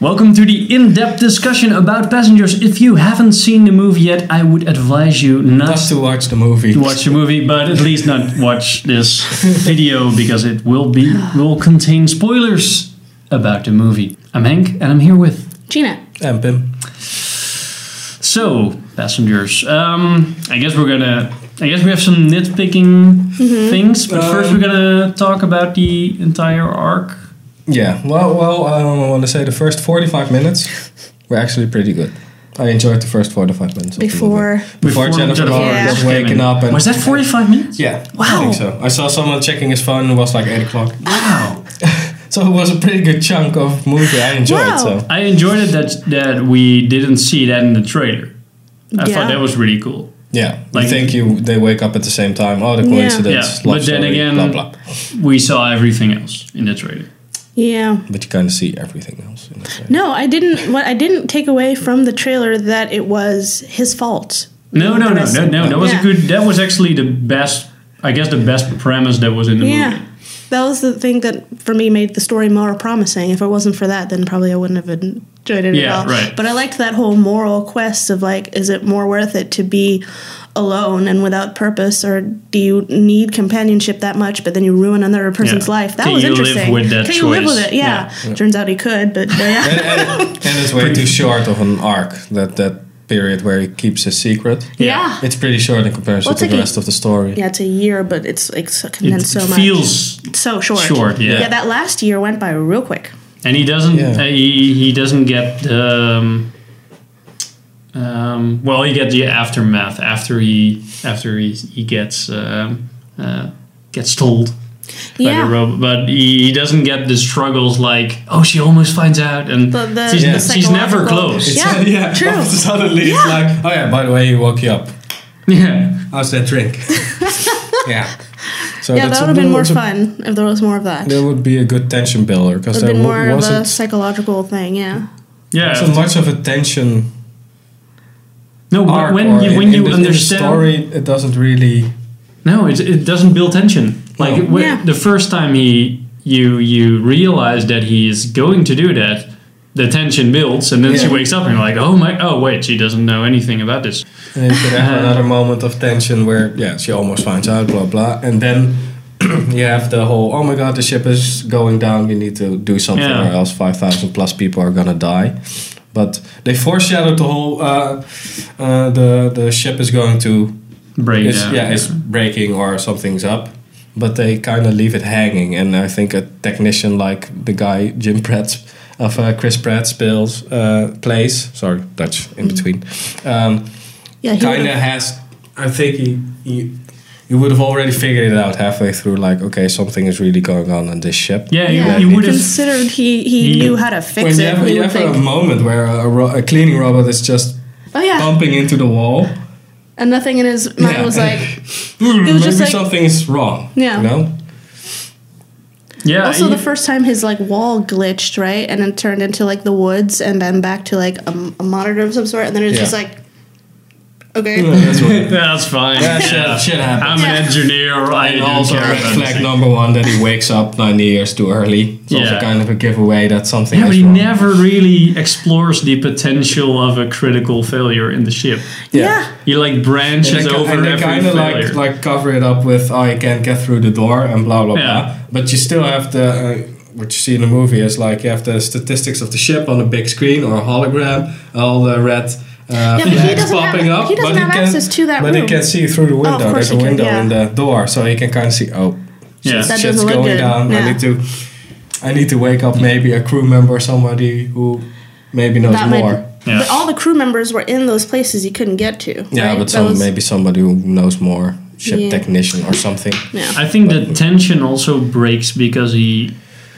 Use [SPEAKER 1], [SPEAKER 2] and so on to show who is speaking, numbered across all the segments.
[SPEAKER 1] Welcome to the in depth discussion about passengers. If you haven't seen the movie yet, I would advise you not
[SPEAKER 2] Not to watch the movie.
[SPEAKER 1] to watch the movie, but at least not watch this video because it will be will contain spoilers about the movie. I'm Hank and I'm here with
[SPEAKER 3] Gina.
[SPEAKER 2] And Pim.
[SPEAKER 1] So, passengers, um, I guess we're gonna. I guess we have some nitpicking things, but first
[SPEAKER 2] Um,
[SPEAKER 1] we're gonna talk about the entire arc.
[SPEAKER 2] Yeah. Well, well, um, I don't want to say the first 45 minutes were actually pretty good. I enjoyed the first 45 minutes. of the movie.
[SPEAKER 3] Before
[SPEAKER 2] Before Jennifer
[SPEAKER 3] Lawrence
[SPEAKER 2] was waking
[SPEAKER 1] came in.
[SPEAKER 2] up and-
[SPEAKER 1] was that forty-five minutes?
[SPEAKER 2] Yeah.
[SPEAKER 1] Wow.
[SPEAKER 2] I think so. I saw someone checking his phone. It was like 8 o'clock.
[SPEAKER 1] Wow,
[SPEAKER 2] So it was a pretty good chunk of movie. I enjoyed
[SPEAKER 3] Wow.
[SPEAKER 2] so.
[SPEAKER 1] I enjoyed it that that we didn't see that in the trailer. I
[SPEAKER 3] Yeah.
[SPEAKER 1] thought that was really cool.
[SPEAKER 2] Yeah.
[SPEAKER 1] Like-
[SPEAKER 2] you think you they wake up at the same time. Oh, the
[SPEAKER 3] Yeah.
[SPEAKER 2] coincidence.
[SPEAKER 1] Yeah,
[SPEAKER 2] love
[SPEAKER 1] but then
[SPEAKER 2] story,
[SPEAKER 1] again-
[SPEAKER 2] Blah, blah.
[SPEAKER 1] We saw everything else in the trailer.
[SPEAKER 3] yeah.
[SPEAKER 2] But you kind of see everything else. In the
[SPEAKER 3] No, I didn't what I didn't take away from the trailer that it was his fault.
[SPEAKER 1] No, no, no, no, no. That was a
[SPEAKER 3] Yeah.
[SPEAKER 1] good. That was actually the best. I guess the best premise that was in the movie.
[SPEAKER 3] Yeah. That was the thing that for me made the story more promising. If it wasn't for that, then probably I wouldn't have enjoyed it
[SPEAKER 1] Yeah,
[SPEAKER 3] at all.
[SPEAKER 1] right.
[SPEAKER 3] But I liked that whole moral quest of like, is it more worth it to be alone and without purpose, or do you need companionship that much? But then you ruin another person's
[SPEAKER 1] Yeah.
[SPEAKER 3] life. That
[SPEAKER 1] Can
[SPEAKER 3] was
[SPEAKER 1] you live
[SPEAKER 3] interesting.
[SPEAKER 1] with that
[SPEAKER 3] Can you live
[SPEAKER 1] choice?
[SPEAKER 3] with it? Yeah. Turns out he could, but uh, yeah.
[SPEAKER 2] And it's way too short of an arc. That that period where he keeps his secret.
[SPEAKER 3] Yeah.
[SPEAKER 2] It's pretty short in comparison
[SPEAKER 3] Well, it's
[SPEAKER 2] to the
[SPEAKER 3] like a-
[SPEAKER 2] rest of the story.
[SPEAKER 3] Yeah, it's a year, but it's like so-
[SPEAKER 1] It
[SPEAKER 3] condensed so much.
[SPEAKER 1] feels
[SPEAKER 3] so short.
[SPEAKER 1] short, yeah.
[SPEAKER 3] Yeah, that last year went by real quick.
[SPEAKER 1] and he doesn't
[SPEAKER 2] Yeah.
[SPEAKER 1] uh, he, he doesn't get um, um, well he gets the aftermath after he after he, he gets um, uh, gets told by the
[SPEAKER 3] Yeah.
[SPEAKER 1] robot but he, he doesn't get the struggles like oh she almost finds out and
[SPEAKER 3] The- the-
[SPEAKER 1] she's,
[SPEAKER 3] the
[SPEAKER 1] ne- she's never
[SPEAKER 3] psychological-
[SPEAKER 1] close
[SPEAKER 3] Yeah, true.
[SPEAKER 2] Suddenly it's like, oh yeah, by the way, he woke you up.
[SPEAKER 1] yeah
[SPEAKER 2] How's that drink? yeah. So
[SPEAKER 3] Yeah,
[SPEAKER 2] that's a-
[SPEAKER 3] that would have been more
[SPEAKER 2] was a-
[SPEAKER 3] fun if there was more of that.
[SPEAKER 2] That
[SPEAKER 3] It
[SPEAKER 2] would be a good tension builder because
[SPEAKER 3] would
[SPEAKER 2] there
[SPEAKER 3] have been more
[SPEAKER 2] wa-
[SPEAKER 3] of a
[SPEAKER 2] wasn't
[SPEAKER 3] psychological thing, yeah.
[SPEAKER 1] yeah
[SPEAKER 2] so much of a tension
[SPEAKER 1] no but
[SPEAKER 2] arc.
[SPEAKER 1] when
[SPEAKER 2] or
[SPEAKER 1] you
[SPEAKER 2] in-
[SPEAKER 1] when
[SPEAKER 2] in
[SPEAKER 1] you
[SPEAKER 2] the- in the
[SPEAKER 1] understand
[SPEAKER 2] story, it doesn't really.
[SPEAKER 1] No, it, it doesn't build tension. Like
[SPEAKER 2] No.
[SPEAKER 1] wh-
[SPEAKER 3] Yeah.
[SPEAKER 1] the first time he you you realize that he is going to do that, the tension builds, and then she
[SPEAKER 2] Yeah.
[SPEAKER 1] wakes up and you're like, oh my, oh wait, she doesn't know anything about this.
[SPEAKER 2] And you could have another moment of tension where, yeah, she almost finds out, blah blah, and then you have the whole, oh my god, the ship is going down. You need to do something,
[SPEAKER 1] Yeah.
[SPEAKER 2] or else five thousand plus people are gonna die. But they foreshadowed the whole. Uh, uh, the the ship is going to
[SPEAKER 1] Brain,
[SPEAKER 2] it's, yeah, it's breaking or something's up. But they kind of leave it hanging, and I think a technician like the guy Jim Pratt's of uh, Chris Pratt's bills uh, plays. Sorry, Dutch in between. Um,
[SPEAKER 3] Yeah, he
[SPEAKER 2] kind of
[SPEAKER 3] would've-
[SPEAKER 2] has. I think he, he you would have already figured it out halfway through. Like, okay, something is really going on in this ship.
[SPEAKER 1] yeah,
[SPEAKER 3] yeah,
[SPEAKER 1] you, you would have.
[SPEAKER 3] considered he, he
[SPEAKER 1] He-
[SPEAKER 3] knew how to fix
[SPEAKER 2] When you
[SPEAKER 3] it.
[SPEAKER 2] have,
[SPEAKER 3] he
[SPEAKER 2] you
[SPEAKER 3] would
[SPEAKER 2] have a
[SPEAKER 3] think,
[SPEAKER 2] moment where a, ro- a cleaning robot is just
[SPEAKER 3] oh yeah,
[SPEAKER 2] bumping into the wall,
[SPEAKER 3] and nothing in his mind
[SPEAKER 2] Yeah. Hmm,
[SPEAKER 3] was like,
[SPEAKER 2] maybe
[SPEAKER 3] just like-
[SPEAKER 2] something is wrong.
[SPEAKER 3] Yeah.
[SPEAKER 2] you know.
[SPEAKER 1] Yeah,
[SPEAKER 3] also
[SPEAKER 1] you-
[SPEAKER 3] the first time his like wall glitched right and it turned into like the woods and then back to like a, a monitor of some sort and then it's
[SPEAKER 2] Yeah.
[SPEAKER 3] just like okay
[SPEAKER 2] Yeah, that's what-
[SPEAKER 1] that's fine.
[SPEAKER 2] Yeah, shit, shit happens.
[SPEAKER 1] I'm an
[SPEAKER 3] Yeah.
[SPEAKER 1] engineer. I
[SPEAKER 2] And
[SPEAKER 1] didn't
[SPEAKER 2] also
[SPEAKER 1] care
[SPEAKER 2] red
[SPEAKER 1] about
[SPEAKER 2] flag
[SPEAKER 1] anything.
[SPEAKER 2] number one that he wakes up 90 years too early. It's also
[SPEAKER 1] Yeah.
[SPEAKER 2] kind of a giveaway that something
[SPEAKER 1] Yeah, but
[SPEAKER 2] is
[SPEAKER 1] he
[SPEAKER 2] wrong.
[SPEAKER 1] never really explores the potential of a critical failure in the ship.
[SPEAKER 2] Yeah.
[SPEAKER 3] yeah
[SPEAKER 1] He like branches
[SPEAKER 2] And they,
[SPEAKER 1] over
[SPEAKER 2] and they
[SPEAKER 1] every
[SPEAKER 2] kind of
[SPEAKER 1] failure.
[SPEAKER 2] like, like cover it up with, oh, you can't get through the door and blah, blah,
[SPEAKER 1] Yeah.
[SPEAKER 2] blah. But you still have the, uh, what you see in the movie is like you have the statistics of the ship on a big screen or a hologram, all the red uh,
[SPEAKER 3] but he
[SPEAKER 2] flags
[SPEAKER 3] doesn't have-
[SPEAKER 2] popping up.
[SPEAKER 3] he doesn't
[SPEAKER 2] but
[SPEAKER 3] have
[SPEAKER 2] can,
[SPEAKER 3] access to that
[SPEAKER 2] But he
[SPEAKER 3] room. Oh,
[SPEAKER 2] can see through the window.
[SPEAKER 3] course
[SPEAKER 2] There's a
[SPEAKER 3] he can,
[SPEAKER 2] window
[SPEAKER 3] yeah.
[SPEAKER 2] in the door, so he can kind of see, oh,
[SPEAKER 1] Yeah.
[SPEAKER 2] shit's-
[SPEAKER 1] That
[SPEAKER 3] doesn't
[SPEAKER 2] shit's
[SPEAKER 3] look
[SPEAKER 2] going
[SPEAKER 3] good.
[SPEAKER 2] down.
[SPEAKER 3] Yeah.
[SPEAKER 2] I need to I need to wake up maybe a crew member or somebody who maybe knows
[SPEAKER 3] that
[SPEAKER 2] more.
[SPEAKER 3] might
[SPEAKER 1] Yeah.
[SPEAKER 3] but all the crew members were in those places you couldn't get to
[SPEAKER 2] yeah,
[SPEAKER 3] right?
[SPEAKER 2] but
[SPEAKER 3] That
[SPEAKER 2] some
[SPEAKER 3] was-
[SPEAKER 2] maybe somebody who knows more, ship
[SPEAKER 3] Yeah.
[SPEAKER 2] technician or something.
[SPEAKER 3] yeah
[SPEAKER 1] I think the tension also breaks because he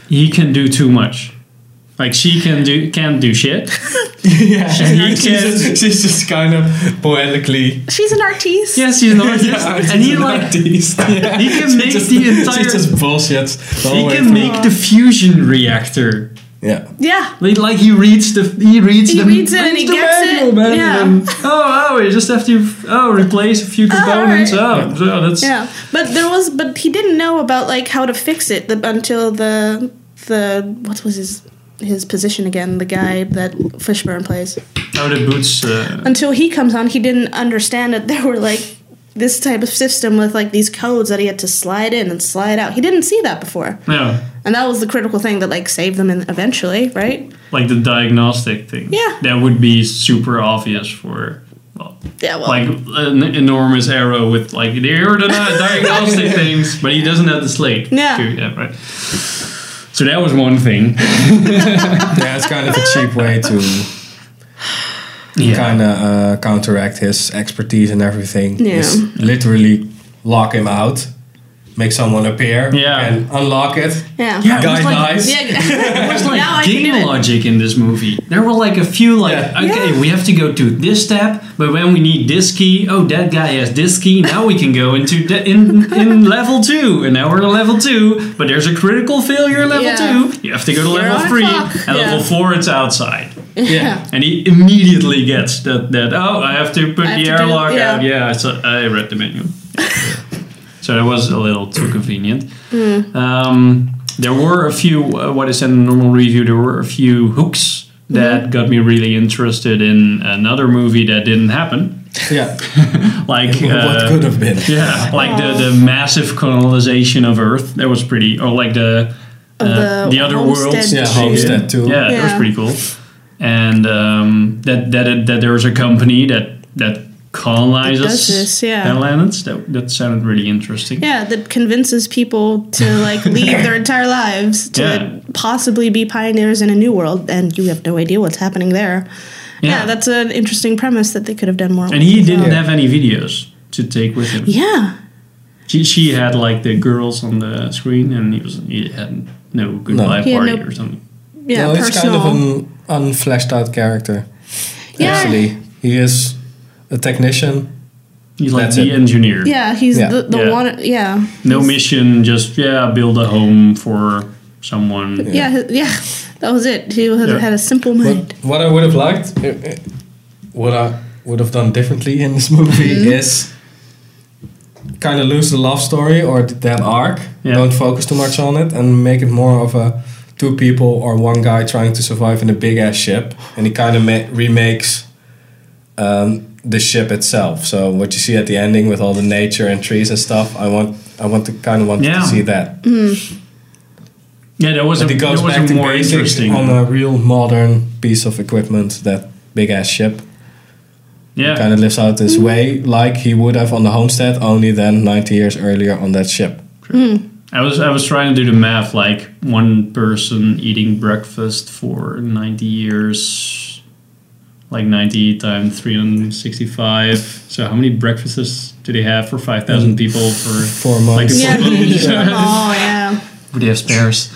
[SPEAKER 1] he can do too much. Like she can do can't do shit.
[SPEAKER 2] yeah,
[SPEAKER 1] He
[SPEAKER 2] she's,
[SPEAKER 1] can-
[SPEAKER 2] just, she's just kind of poetically.
[SPEAKER 3] she's an artiste
[SPEAKER 1] Yes, he's an artist, and he like
[SPEAKER 2] teased. Yeah.
[SPEAKER 1] he can
[SPEAKER 2] She
[SPEAKER 1] make
[SPEAKER 2] just-
[SPEAKER 1] the
[SPEAKER 2] she
[SPEAKER 1] entire-
[SPEAKER 2] just bullshits.
[SPEAKER 1] he
[SPEAKER 2] the whole way
[SPEAKER 1] can
[SPEAKER 2] through.
[SPEAKER 1] make the fusion reactor.
[SPEAKER 2] yeah.
[SPEAKER 3] yeah
[SPEAKER 1] Like, like he reads the he reads
[SPEAKER 3] He
[SPEAKER 1] the
[SPEAKER 3] reads it and he
[SPEAKER 1] the
[SPEAKER 3] gets it,
[SPEAKER 1] manual, man, and
[SPEAKER 3] yeah.
[SPEAKER 1] then, oh oh you just have to oh replace a few components
[SPEAKER 3] alright.
[SPEAKER 1] oh so that's
[SPEAKER 3] Yeah, but there was, but he didn't know about like how to fix it the, until the the what was his his position again, the guy that Fishburne plays.
[SPEAKER 1] How the boots. Uh,
[SPEAKER 3] Until he comes on, he didn't understand that there were like this type of system with like these codes that he had to slide in and slide out. He didn't see that before.
[SPEAKER 1] yeah,
[SPEAKER 3] And that was the critical thing that like saved them in eventually, right?
[SPEAKER 1] like the diagnostic thing.
[SPEAKER 3] Yeah.
[SPEAKER 1] That would be super obvious for. well,
[SPEAKER 3] Yeah, well,
[SPEAKER 1] Like an enormous arrow with like the aerodynamic diagnostic things, but he doesn't have the slate.
[SPEAKER 3] Yeah.
[SPEAKER 1] to- yeah, right. So that was one thing.
[SPEAKER 2] yeah, it's kind of a cheap way to
[SPEAKER 1] Yeah.
[SPEAKER 2] kind of uh, counteract his expertise and everything.
[SPEAKER 3] Yeah.
[SPEAKER 2] Just literally lock him out, make someone appear,
[SPEAKER 1] Yeah.
[SPEAKER 2] and unlock it.
[SPEAKER 3] yeah.
[SPEAKER 1] Yeah, it
[SPEAKER 2] Guy
[SPEAKER 1] was like-
[SPEAKER 2] dies.
[SPEAKER 3] Yeah.
[SPEAKER 1] There's like
[SPEAKER 3] Now I can do
[SPEAKER 1] game
[SPEAKER 3] it.
[SPEAKER 1] logic in this movie. There were like a few like,
[SPEAKER 2] Yeah.
[SPEAKER 1] okay,
[SPEAKER 3] Yeah.
[SPEAKER 1] we have to go to this step, but when we need this key, oh that guy has this key. Now we can go into the, in in level two, and now we're on level two. But there's a critical failure in level
[SPEAKER 3] Yeah.
[SPEAKER 1] two. You have to go to
[SPEAKER 3] on
[SPEAKER 1] level
[SPEAKER 3] a
[SPEAKER 1] three,
[SPEAKER 3] clock.
[SPEAKER 1] and
[SPEAKER 3] Yeah.
[SPEAKER 1] level four it's outside.
[SPEAKER 2] Yeah.
[SPEAKER 1] And he immediately gets that that oh I have to put
[SPEAKER 3] I have
[SPEAKER 1] the
[SPEAKER 3] to do-
[SPEAKER 1] airlock
[SPEAKER 3] yeah.
[SPEAKER 1] out. Yeah, I saw, I read the menu. so that was a little too convenient.
[SPEAKER 3] Hmm.
[SPEAKER 1] Um, there were a few uh, what is in a normal review. There were a few hooks that
[SPEAKER 3] Hmm.
[SPEAKER 1] got me really interested in another movie that didn't happen.
[SPEAKER 2] Yeah.
[SPEAKER 1] Like
[SPEAKER 2] what
[SPEAKER 1] uh,
[SPEAKER 2] could have been?
[SPEAKER 1] yeah, like the, the massive colonization of Earth. That was pretty, or like the
[SPEAKER 3] Of
[SPEAKER 1] uh,
[SPEAKER 3] the
[SPEAKER 1] the other
[SPEAKER 3] Homestead
[SPEAKER 1] worlds.
[SPEAKER 2] Yeah,
[SPEAKER 1] that she
[SPEAKER 2] Homestead
[SPEAKER 1] did.
[SPEAKER 2] too.
[SPEAKER 1] Yeah, that was
[SPEAKER 3] Yeah.
[SPEAKER 1] pretty cool. And um, that, that that there was a company that that colonizes
[SPEAKER 3] That does this, yeah.
[SPEAKER 1] their planets. That that sounded really interesting.
[SPEAKER 3] Yeah, that convinces people to like leave their entire lives to
[SPEAKER 1] Yeah.
[SPEAKER 3] possibly be pioneers in a new world, and you have no idea what's happening there. Yeah,
[SPEAKER 1] Yeah.
[SPEAKER 3] that's an interesting premise that they could have done more.
[SPEAKER 1] And
[SPEAKER 3] with
[SPEAKER 1] he
[SPEAKER 3] as
[SPEAKER 1] didn't
[SPEAKER 3] well.
[SPEAKER 1] have any videos to take with him.
[SPEAKER 3] Yeah,
[SPEAKER 1] She, she had like the girls on the screen, and he was he had no goodbye
[SPEAKER 3] He had
[SPEAKER 1] party
[SPEAKER 3] no-
[SPEAKER 1] or something.
[SPEAKER 3] yeah,
[SPEAKER 2] no, it's
[SPEAKER 3] personal.
[SPEAKER 2] kind of an unfleshed out character.
[SPEAKER 3] Yeah.
[SPEAKER 2] Actually, he is a technician.
[SPEAKER 1] He's like
[SPEAKER 2] That's
[SPEAKER 1] the
[SPEAKER 2] it.
[SPEAKER 1] engineer.
[SPEAKER 3] yeah, he's
[SPEAKER 2] Yeah.
[SPEAKER 3] the, the
[SPEAKER 1] Yeah.
[SPEAKER 3] one. Yeah,
[SPEAKER 1] No mission, just yeah, build a home for someone.
[SPEAKER 3] yeah, yeah, That was it. He had,
[SPEAKER 1] Yeah.
[SPEAKER 3] had a simple mind.
[SPEAKER 2] But what I would have liked, eh, eh, what I would have done differently in this movie is kind of lose the love story or th- that arc.
[SPEAKER 1] Yeah.
[SPEAKER 2] Don't focus too much on it and make it more of a two people or one guy trying to survive in a big ass ship. And he kind of ma- remakes um, the ship itself. So what you see at the ending with all the nature and trees and stuff, I want, I want to kind of want
[SPEAKER 1] Yeah.
[SPEAKER 2] to see that.
[SPEAKER 1] Yeah, that was a,
[SPEAKER 2] But it goes
[SPEAKER 1] that was
[SPEAKER 2] back
[SPEAKER 1] a
[SPEAKER 2] to
[SPEAKER 1] more
[SPEAKER 2] basics
[SPEAKER 1] interesting.
[SPEAKER 2] on a real modern piece of equipment. That big ass ship
[SPEAKER 1] yeah,
[SPEAKER 2] kind of lives out this way, like he would have on the homestead, only then 90 years earlier on that ship.
[SPEAKER 1] I was I was trying to do the math like one person eating breakfast for 90 years like 90 times 365 so how many breakfasts do they have for 5000 people for
[SPEAKER 2] Four
[SPEAKER 1] like
[SPEAKER 2] months.
[SPEAKER 3] yeah,
[SPEAKER 1] yeah.
[SPEAKER 3] he, oh yeah.
[SPEAKER 1] would they have spares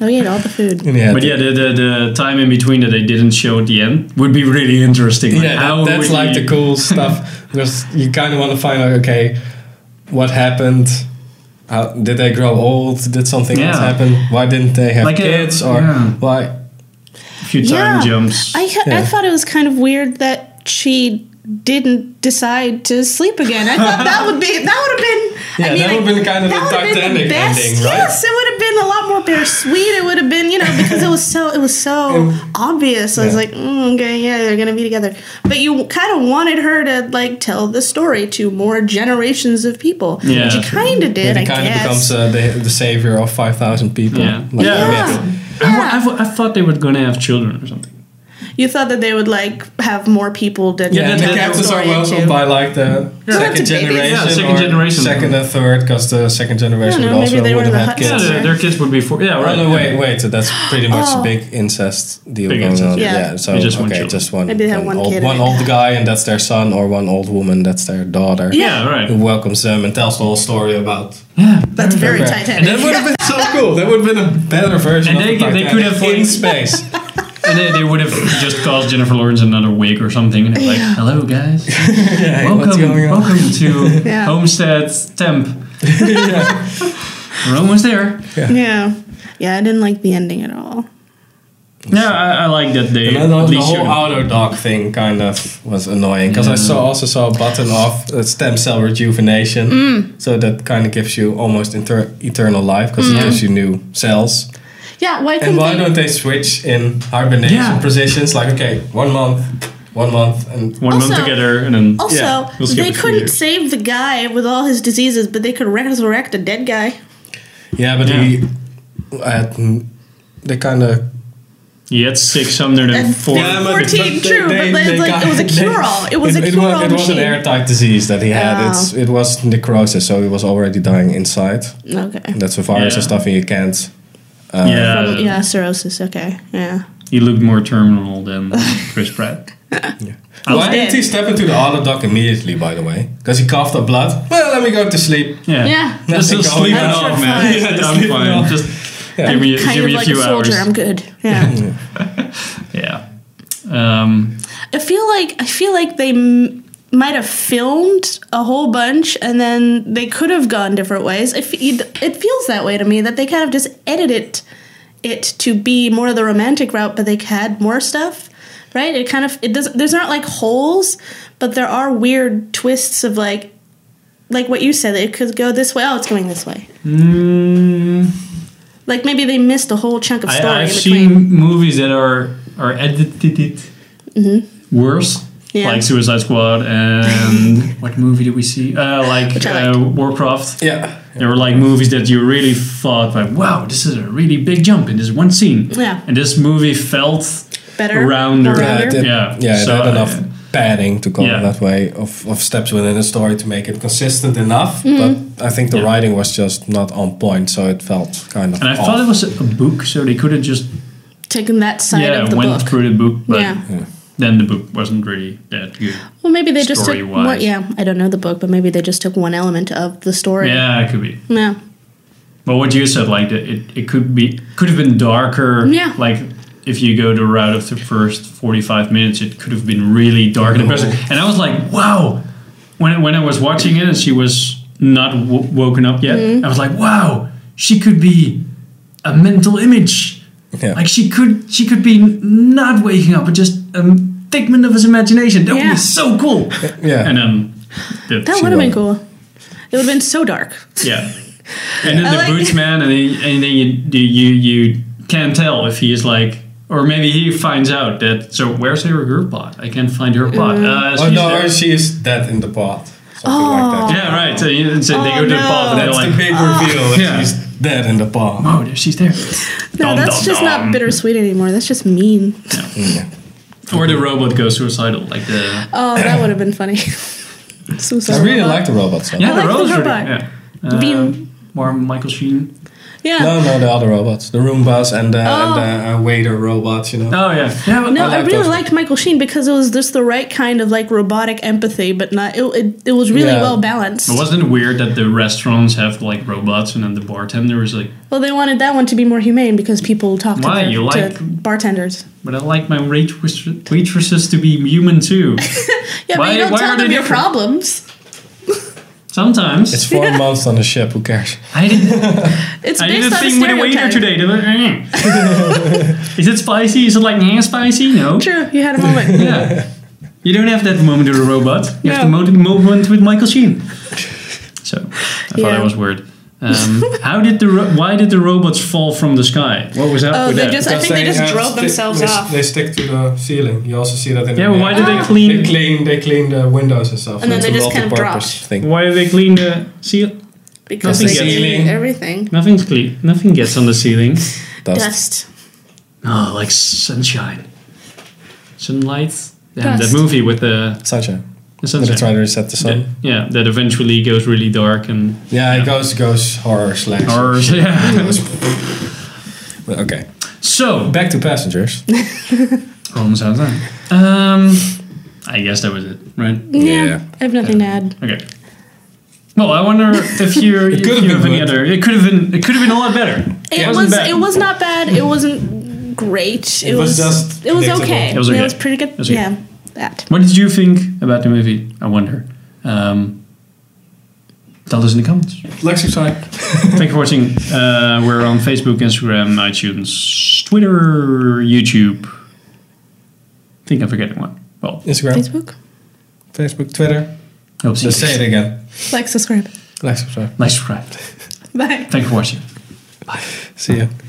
[SPEAKER 3] Oh, he ate all the food.
[SPEAKER 2] And he had
[SPEAKER 1] but yeah the, the the time in between that they didn't show at the end would be really interesting
[SPEAKER 2] Yeah,
[SPEAKER 1] Like,
[SPEAKER 2] that-
[SPEAKER 1] how
[SPEAKER 2] that's
[SPEAKER 1] would
[SPEAKER 2] like
[SPEAKER 1] he-
[SPEAKER 2] the cool stuff. Because you kind of want to find out, okay, what happened? How, did they grow old? Did something else
[SPEAKER 1] Yeah.
[SPEAKER 2] happen? Why didn't they have
[SPEAKER 1] Like a-
[SPEAKER 2] kids? or
[SPEAKER 1] yeah.
[SPEAKER 2] why?
[SPEAKER 1] few time
[SPEAKER 3] Yeah.
[SPEAKER 1] jumps
[SPEAKER 3] I ha-
[SPEAKER 2] Yeah.
[SPEAKER 3] I thought it was kind of weird that she didn't decide to sleep again. I thought that would be that would have been.
[SPEAKER 2] Yeah,
[SPEAKER 3] I mean,
[SPEAKER 2] that would've
[SPEAKER 3] like,
[SPEAKER 2] been kind of
[SPEAKER 3] that
[SPEAKER 2] a
[SPEAKER 3] would've been
[SPEAKER 2] Titanic ending, right?
[SPEAKER 3] Yes, it would have been a lot more bittersweet. It would have been you know because it was so it was so obvious. I was
[SPEAKER 2] Yeah.
[SPEAKER 3] like, mm, okay, yeah, they're gonna be together. But you kind of wanted her to like tell the story to more generations of people.
[SPEAKER 1] Yeah.
[SPEAKER 3] she kind of did.
[SPEAKER 2] It
[SPEAKER 3] I
[SPEAKER 2] kind of
[SPEAKER 3] guess.
[SPEAKER 2] becomes uh, the, the savior of 5,000 people.
[SPEAKER 1] Yeah.
[SPEAKER 2] Like,
[SPEAKER 1] Yeah.
[SPEAKER 2] myth.
[SPEAKER 3] yeah.
[SPEAKER 1] I, wa- I wa- I thought they were gonna have children or something
[SPEAKER 3] You thought that they would like have more people than
[SPEAKER 2] Yeah, and the
[SPEAKER 3] than
[SPEAKER 2] captains are
[SPEAKER 3] story
[SPEAKER 2] welcomed
[SPEAKER 3] to-
[SPEAKER 2] by like the
[SPEAKER 3] Yeah.
[SPEAKER 2] second
[SPEAKER 3] Babies.
[SPEAKER 2] generation,
[SPEAKER 1] Yeah, second
[SPEAKER 2] or
[SPEAKER 1] generation.
[SPEAKER 2] second and third, because the second generation
[SPEAKER 3] I
[SPEAKER 2] would
[SPEAKER 3] don't know, maybe
[SPEAKER 2] also
[SPEAKER 3] they
[SPEAKER 2] would
[SPEAKER 3] were
[SPEAKER 2] have had
[SPEAKER 3] the hut-
[SPEAKER 2] kids.
[SPEAKER 1] yeah their, their kids would be four yeah
[SPEAKER 2] Oh
[SPEAKER 1] right
[SPEAKER 2] no, wait, wait. So that's pretty much
[SPEAKER 3] Oh.
[SPEAKER 2] a big incest deal
[SPEAKER 1] Big
[SPEAKER 2] going
[SPEAKER 1] incest,
[SPEAKER 2] on.
[SPEAKER 3] yeah.
[SPEAKER 2] Yeah. so
[SPEAKER 1] They just want
[SPEAKER 2] okay,
[SPEAKER 1] children.
[SPEAKER 2] just one,
[SPEAKER 3] Maybe they have
[SPEAKER 2] an
[SPEAKER 3] one
[SPEAKER 2] old,
[SPEAKER 3] kid
[SPEAKER 2] one
[SPEAKER 3] and-
[SPEAKER 2] old guy, and that's their son, or one old woman, that's their daughter.
[SPEAKER 1] yeah right
[SPEAKER 2] Who welcomes them and tells the whole story about.
[SPEAKER 3] That's very
[SPEAKER 2] Okay.
[SPEAKER 3] Titanic.
[SPEAKER 2] That would have been so cool. That would have been a better version.
[SPEAKER 1] And
[SPEAKER 2] of
[SPEAKER 1] they-
[SPEAKER 2] the
[SPEAKER 1] they
[SPEAKER 2] Titanic
[SPEAKER 1] could have
[SPEAKER 2] in
[SPEAKER 1] like-
[SPEAKER 2] space.
[SPEAKER 1] And they, they would have just caused Jennifer Lawrence another wig or something. And they're like, hello, guys.
[SPEAKER 2] Hey, what's
[SPEAKER 1] welcome
[SPEAKER 2] going on?
[SPEAKER 1] welcome to
[SPEAKER 3] Yeah.
[SPEAKER 1] Homestead Temp. We're almost there.
[SPEAKER 3] Yeah. Yeah, I didn't like the ending at all.
[SPEAKER 1] Yeah, I, I like that they
[SPEAKER 2] And then the,
[SPEAKER 1] at
[SPEAKER 2] the
[SPEAKER 1] least
[SPEAKER 2] whole
[SPEAKER 1] showed-
[SPEAKER 2] auto dog thing kind of was annoying because I saw also saw a button of uh, stem cell rejuvenation,
[SPEAKER 3] Mm.
[SPEAKER 2] so that kind of gives you almost inter- eternal life because it gives you new cells.
[SPEAKER 3] Yeah, why couldn't
[SPEAKER 2] And why
[SPEAKER 3] they?
[SPEAKER 2] don't they switch in hibernation
[SPEAKER 1] Yeah.
[SPEAKER 2] positions? Like, okay, one month, one month, and
[SPEAKER 1] One month
[SPEAKER 3] Also-
[SPEAKER 1] together and then
[SPEAKER 3] also,
[SPEAKER 2] Yeah,
[SPEAKER 1] we'll skip
[SPEAKER 3] they
[SPEAKER 1] it for
[SPEAKER 3] couldn't
[SPEAKER 1] you.
[SPEAKER 3] save the guy with all his diseases, but they could resurrect a dead guy.
[SPEAKER 2] yeah, but
[SPEAKER 1] Yeah.
[SPEAKER 2] he, had, mm, they kind of
[SPEAKER 1] you had six hundred and
[SPEAKER 3] And-
[SPEAKER 1] four.
[SPEAKER 3] Yeah, but- 14,
[SPEAKER 2] they-
[SPEAKER 3] true,
[SPEAKER 2] they-
[SPEAKER 3] but
[SPEAKER 2] they
[SPEAKER 3] it's like,
[SPEAKER 2] got-
[SPEAKER 3] it was a
[SPEAKER 2] they-
[SPEAKER 3] cure-all. It was a
[SPEAKER 2] wa-
[SPEAKER 3] cure-all
[SPEAKER 2] It was an
[SPEAKER 3] machine. Oh.
[SPEAKER 2] airtight disease that he had.
[SPEAKER 3] Yeah.
[SPEAKER 2] It's it was necrosis, so he was already dying inside.
[SPEAKER 3] Okay.
[SPEAKER 2] That's a virus
[SPEAKER 1] Yeah.
[SPEAKER 2] and stuff, and you can't. Uh,
[SPEAKER 1] yeah,
[SPEAKER 3] From- yeah, cirrhosis. Okay. Yeah.
[SPEAKER 1] he looked more terminal than Chris Pratt.
[SPEAKER 2] Why
[SPEAKER 3] dead.
[SPEAKER 2] didn't he step into the auto dock immediately? By the way, because he coughed up blood. Well, let me go to sleep.
[SPEAKER 1] Yeah,
[SPEAKER 3] Yeah.
[SPEAKER 1] just,
[SPEAKER 2] Nothing
[SPEAKER 1] just
[SPEAKER 2] going
[SPEAKER 1] sleep it
[SPEAKER 2] on.
[SPEAKER 1] off,
[SPEAKER 3] Sure,
[SPEAKER 1] man.
[SPEAKER 3] fine.
[SPEAKER 2] Yeah, just
[SPEAKER 1] I'm
[SPEAKER 2] sleep it
[SPEAKER 1] fine.
[SPEAKER 2] off.
[SPEAKER 1] Just
[SPEAKER 2] Yeah.
[SPEAKER 1] give me,
[SPEAKER 3] Kind
[SPEAKER 1] give
[SPEAKER 3] of
[SPEAKER 1] me a
[SPEAKER 3] like
[SPEAKER 1] few
[SPEAKER 3] a soldier.
[SPEAKER 1] hours.
[SPEAKER 3] I'm good. Yeah.
[SPEAKER 1] Yeah. Um,
[SPEAKER 3] I feel like I feel like they m- might have filmed a whole bunch, and then they could have gone different ways. It, fe- it it feels that way to me that they kind of just edited it to be more of the romantic route, but they had more stuff, right? It kind of it doesn't. There's not like holes, but there are weird twists of like. Like what you said, it could go this way. Oh, it's going this way.
[SPEAKER 1] mm,
[SPEAKER 3] Like maybe they missed a whole chunk of story.
[SPEAKER 1] I, I've
[SPEAKER 3] in between.
[SPEAKER 1] seen movies that are are edited worse,
[SPEAKER 3] Mm-hmm. Yeah.
[SPEAKER 1] like Suicide Squad and what movie did we see? Uh, like
[SPEAKER 3] Which I
[SPEAKER 1] uh, Warcraft.
[SPEAKER 2] Yeah.
[SPEAKER 1] There were like movies that you really thought, like, wow, this is a really big jump in this one scene.
[SPEAKER 3] Yeah.
[SPEAKER 1] And this movie felt
[SPEAKER 3] better
[SPEAKER 1] Rounder.
[SPEAKER 3] more
[SPEAKER 1] Yeah,
[SPEAKER 2] Yeah,
[SPEAKER 3] rounder.
[SPEAKER 2] it did-
[SPEAKER 1] Yeah.
[SPEAKER 2] yeah, it
[SPEAKER 1] So,
[SPEAKER 2] had enough
[SPEAKER 1] uh,
[SPEAKER 2] padding to call
[SPEAKER 1] yeah.
[SPEAKER 2] it that way of, of steps within the story to make it consistent enough. But I think the
[SPEAKER 1] Yeah.
[SPEAKER 2] writing was just not on point, so it felt kind of.
[SPEAKER 1] and I
[SPEAKER 2] off.
[SPEAKER 1] thought it was a a book, so they could have just
[SPEAKER 3] Taking that side
[SPEAKER 1] yeah
[SPEAKER 3] of the
[SPEAKER 1] went
[SPEAKER 3] book.
[SPEAKER 1] through the book, but
[SPEAKER 3] yeah.
[SPEAKER 1] then the book wasn't really that good.
[SPEAKER 3] Well, maybe they just took
[SPEAKER 1] Story-wise.
[SPEAKER 3] one, yeah. I don't know the book, but maybe they just took one element of the story.
[SPEAKER 1] Yeah, it could be.
[SPEAKER 3] Yeah.
[SPEAKER 1] But what you said, like the, it, it could be could have been darker.
[SPEAKER 3] Yeah.
[SPEAKER 1] Like if you go the route of the first forty five minutes, it could have been really dark and depressing.
[SPEAKER 2] Oh.
[SPEAKER 1] And I was like, wow. When when I was watching it and she was not w- woken up yet,
[SPEAKER 3] Mm-hmm.
[SPEAKER 1] I was like, wow, she could be a mental image.
[SPEAKER 2] Yeah.
[SPEAKER 1] Like she could she could be not waking up, but just a figment of his imagination. That would
[SPEAKER 3] Yeah.
[SPEAKER 1] be so cool.
[SPEAKER 2] yeah.
[SPEAKER 1] And um, the,
[SPEAKER 3] That
[SPEAKER 2] She
[SPEAKER 3] would have been
[SPEAKER 2] wrote.
[SPEAKER 3] cool. It would have been so dark.
[SPEAKER 1] yeah. And then
[SPEAKER 3] I
[SPEAKER 1] the
[SPEAKER 3] like-
[SPEAKER 1] boots man, and, he, and then you, you you you can't tell if he's like, or maybe he finds out that. So where's her, her plot? I can't find her plot.
[SPEAKER 3] Mm.
[SPEAKER 1] Uh,
[SPEAKER 2] oh
[SPEAKER 1] she's
[SPEAKER 2] no,
[SPEAKER 1] there.
[SPEAKER 2] she is dead in the pot. Something like that.
[SPEAKER 1] Oh. yeah, right. So, you, so they go
[SPEAKER 3] Oh,
[SPEAKER 1] to the pot, and they're
[SPEAKER 3] no.
[SPEAKER 2] That's the
[SPEAKER 1] like, ah.
[SPEAKER 2] big reveal that
[SPEAKER 1] Yeah.
[SPEAKER 2] she's dead in the pot.
[SPEAKER 1] oh, there- she's there.
[SPEAKER 3] No,
[SPEAKER 1] Dum,
[SPEAKER 3] that's
[SPEAKER 1] dum,
[SPEAKER 3] just
[SPEAKER 1] dum.
[SPEAKER 3] not bittersweet anymore. That's just mean.
[SPEAKER 1] Or the robot goes suicidal, like the
[SPEAKER 3] Oh, that would have been funny. Suicide
[SPEAKER 2] I really
[SPEAKER 3] Squad.
[SPEAKER 2] like the robot stuff.
[SPEAKER 1] yeah,
[SPEAKER 3] like the
[SPEAKER 1] robot's really-
[SPEAKER 3] robot.
[SPEAKER 1] yeah. Uh,
[SPEAKER 3] Beam.
[SPEAKER 1] More Michael Sheen.
[SPEAKER 3] Yeah.
[SPEAKER 2] No, no, the other robots, the Roombas and the,
[SPEAKER 3] Oh.
[SPEAKER 2] and the uh, waiter robots. You know.
[SPEAKER 1] Oh yeah, yeah. but-
[SPEAKER 3] No,
[SPEAKER 2] I
[SPEAKER 3] I,
[SPEAKER 2] like
[SPEAKER 3] really
[SPEAKER 2] those.
[SPEAKER 3] liked Michael Sheen because it was just the right kind of like robotic empathy, but not it. It, it was really
[SPEAKER 2] Yeah.
[SPEAKER 3] well balanced.
[SPEAKER 1] But wasn't it weird that the restaurants have like robots, and then the bartender is like,
[SPEAKER 3] Well, they wanted that one to be more humane because people talk to,
[SPEAKER 1] Why?
[SPEAKER 3] their-
[SPEAKER 1] You
[SPEAKER 3] to
[SPEAKER 1] like-
[SPEAKER 3] bartenders.
[SPEAKER 1] "But I like my waitress- waitresses to be human too." Why-
[SPEAKER 3] Yeah, but you don't
[SPEAKER 1] why are
[SPEAKER 3] tell
[SPEAKER 1] they
[SPEAKER 3] them your
[SPEAKER 1] different?
[SPEAKER 3] problems.
[SPEAKER 1] Sometimes
[SPEAKER 2] It's four months on a ship. Who cares?
[SPEAKER 1] I didn't.
[SPEAKER 3] It's
[SPEAKER 1] I
[SPEAKER 3] based
[SPEAKER 1] did a
[SPEAKER 3] on
[SPEAKER 1] thing with a waiter
[SPEAKER 3] stereotype.
[SPEAKER 1] today. They were, "Eh." Is it spicy? Is it like nah, spicy? No.
[SPEAKER 3] True, you had a moment.
[SPEAKER 1] Yeah. You don't have that moment with a robot. You have the
[SPEAKER 3] No.
[SPEAKER 1] mo- moment with Michael Sheen. So I thought
[SPEAKER 3] Yeah.
[SPEAKER 1] that was weird. Um, how did the ro- why did the robots fall from the sky? What was up
[SPEAKER 3] Oh,
[SPEAKER 1] with
[SPEAKER 3] they
[SPEAKER 1] that?
[SPEAKER 3] just- I think they just drove themselves
[SPEAKER 2] they,
[SPEAKER 3] off.
[SPEAKER 2] They stick to the ceiling. You also see that in
[SPEAKER 1] yeah,
[SPEAKER 2] the
[SPEAKER 1] but why did they
[SPEAKER 3] Ah.
[SPEAKER 1] clean?
[SPEAKER 2] They clean, they clean the windows and stuff.
[SPEAKER 3] And then
[SPEAKER 2] It's
[SPEAKER 3] they
[SPEAKER 2] a
[SPEAKER 3] just kind of
[SPEAKER 2] multi-purpose Thing.
[SPEAKER 1] why did they clean the seal?
[SPEAKER 3] Because
[SPEAKER 1] Nothing
[SPEAKER 3] they
[SPEAKER 1] gets-
[SPEAKER 3] see everything.
[SPEAKER 1] Nothing's clean. Nothing gets on the ceiling.
[SPEAKER 2] Dust.
[SPEAKER 3] Dust.
[SPEAKER 1] Oh, like sunshine, sunlight. Damn, that
[SPEAKER 3] Dust.
[SPEAKER 1] movie with the,
[SPEAKER 2] Sunshine.
[SPEAKER 1] the
[SPEAKER 2] When they
[SPEAKER 1] sunshine.
[SPEAKER 2] try to reset the sun.
[SPEAKER 1] That- yeah, that eventually goes really dark and
[SPEAKER 2] Yeah, it goes goes horror slash.
[SPEAKER 1] horrors. Yeah.
[SPEAKER 2] Well, Okay.
[SPEAKER 1] So
[SPEAKER 2] Back to passengers.
[SPEAKER 1] almost out of time. Um, I guess that was it, right?
[SPEAKER 3] Yeah.
[SPEAKER 2] Yeah.
[SPEAKER 3] I have nothing to add.
[SPEAKER 1] Okay. Well, I wonder if you if
[SPEAKER 2] could've
[SPEAKER 1] you
[SPEAKER 2] been
[SPEAKER 1] have any
[SPEAKER 2] good.
[SPEAKER 1] other. It could have been. It could have been a lot better.
[SPEAKER 3] It,
[SPEAKER 1] Yeah.
[SPEAKER 3] was
[SPEAKER 1] Wasn't bad.
[SPEAKER 3] it was not bad. It wasn't great. It,
[SPEAKER 2] was
[SPEAKER 3] was,
[SPEAKER 2] just
[SPEAKER 3] it was
[SPEAKER 2] predictable.
[SPEAKER 3] okay.
[SPEAKER 1] It was okay.
[SPEAKER 3] pretty good.
[SPEAKER 1] was okay.
[SPEAKER 3] yeah. That.
[SPEAKER 1] What did you think about the movie? I wonder. Um, tell us in the comments.
[SPEAKER 2] Lexi side.
[SPEAKER 1] Thank you for watching. Uh, we're on Facebook, Instagram, iTunes, Twitter, YouTube. I think I'm forgetting one. Well,
[SPEAKER 2] Instagram,
[SPEAKER 3] Facebook?
[SPEAKER 2] Facebook, Twitter.
[SPEAKER 1] I hope to
[SPEAKER 2] Just
[SPEAKER 1] see
[SPEAKER 2] say
[SPEAKER 1] you.
[SPEAKER 2] it again.
[SPEAKER 3] Like, subscribe.
[SPEAKER 2] Like, subscribe.
[SPEAKER 1] Nice subscribe.
[SPEAKER 3] Bye.
[SPEAKER 1] Thank you for watching.
[SPEAKER 2] See you.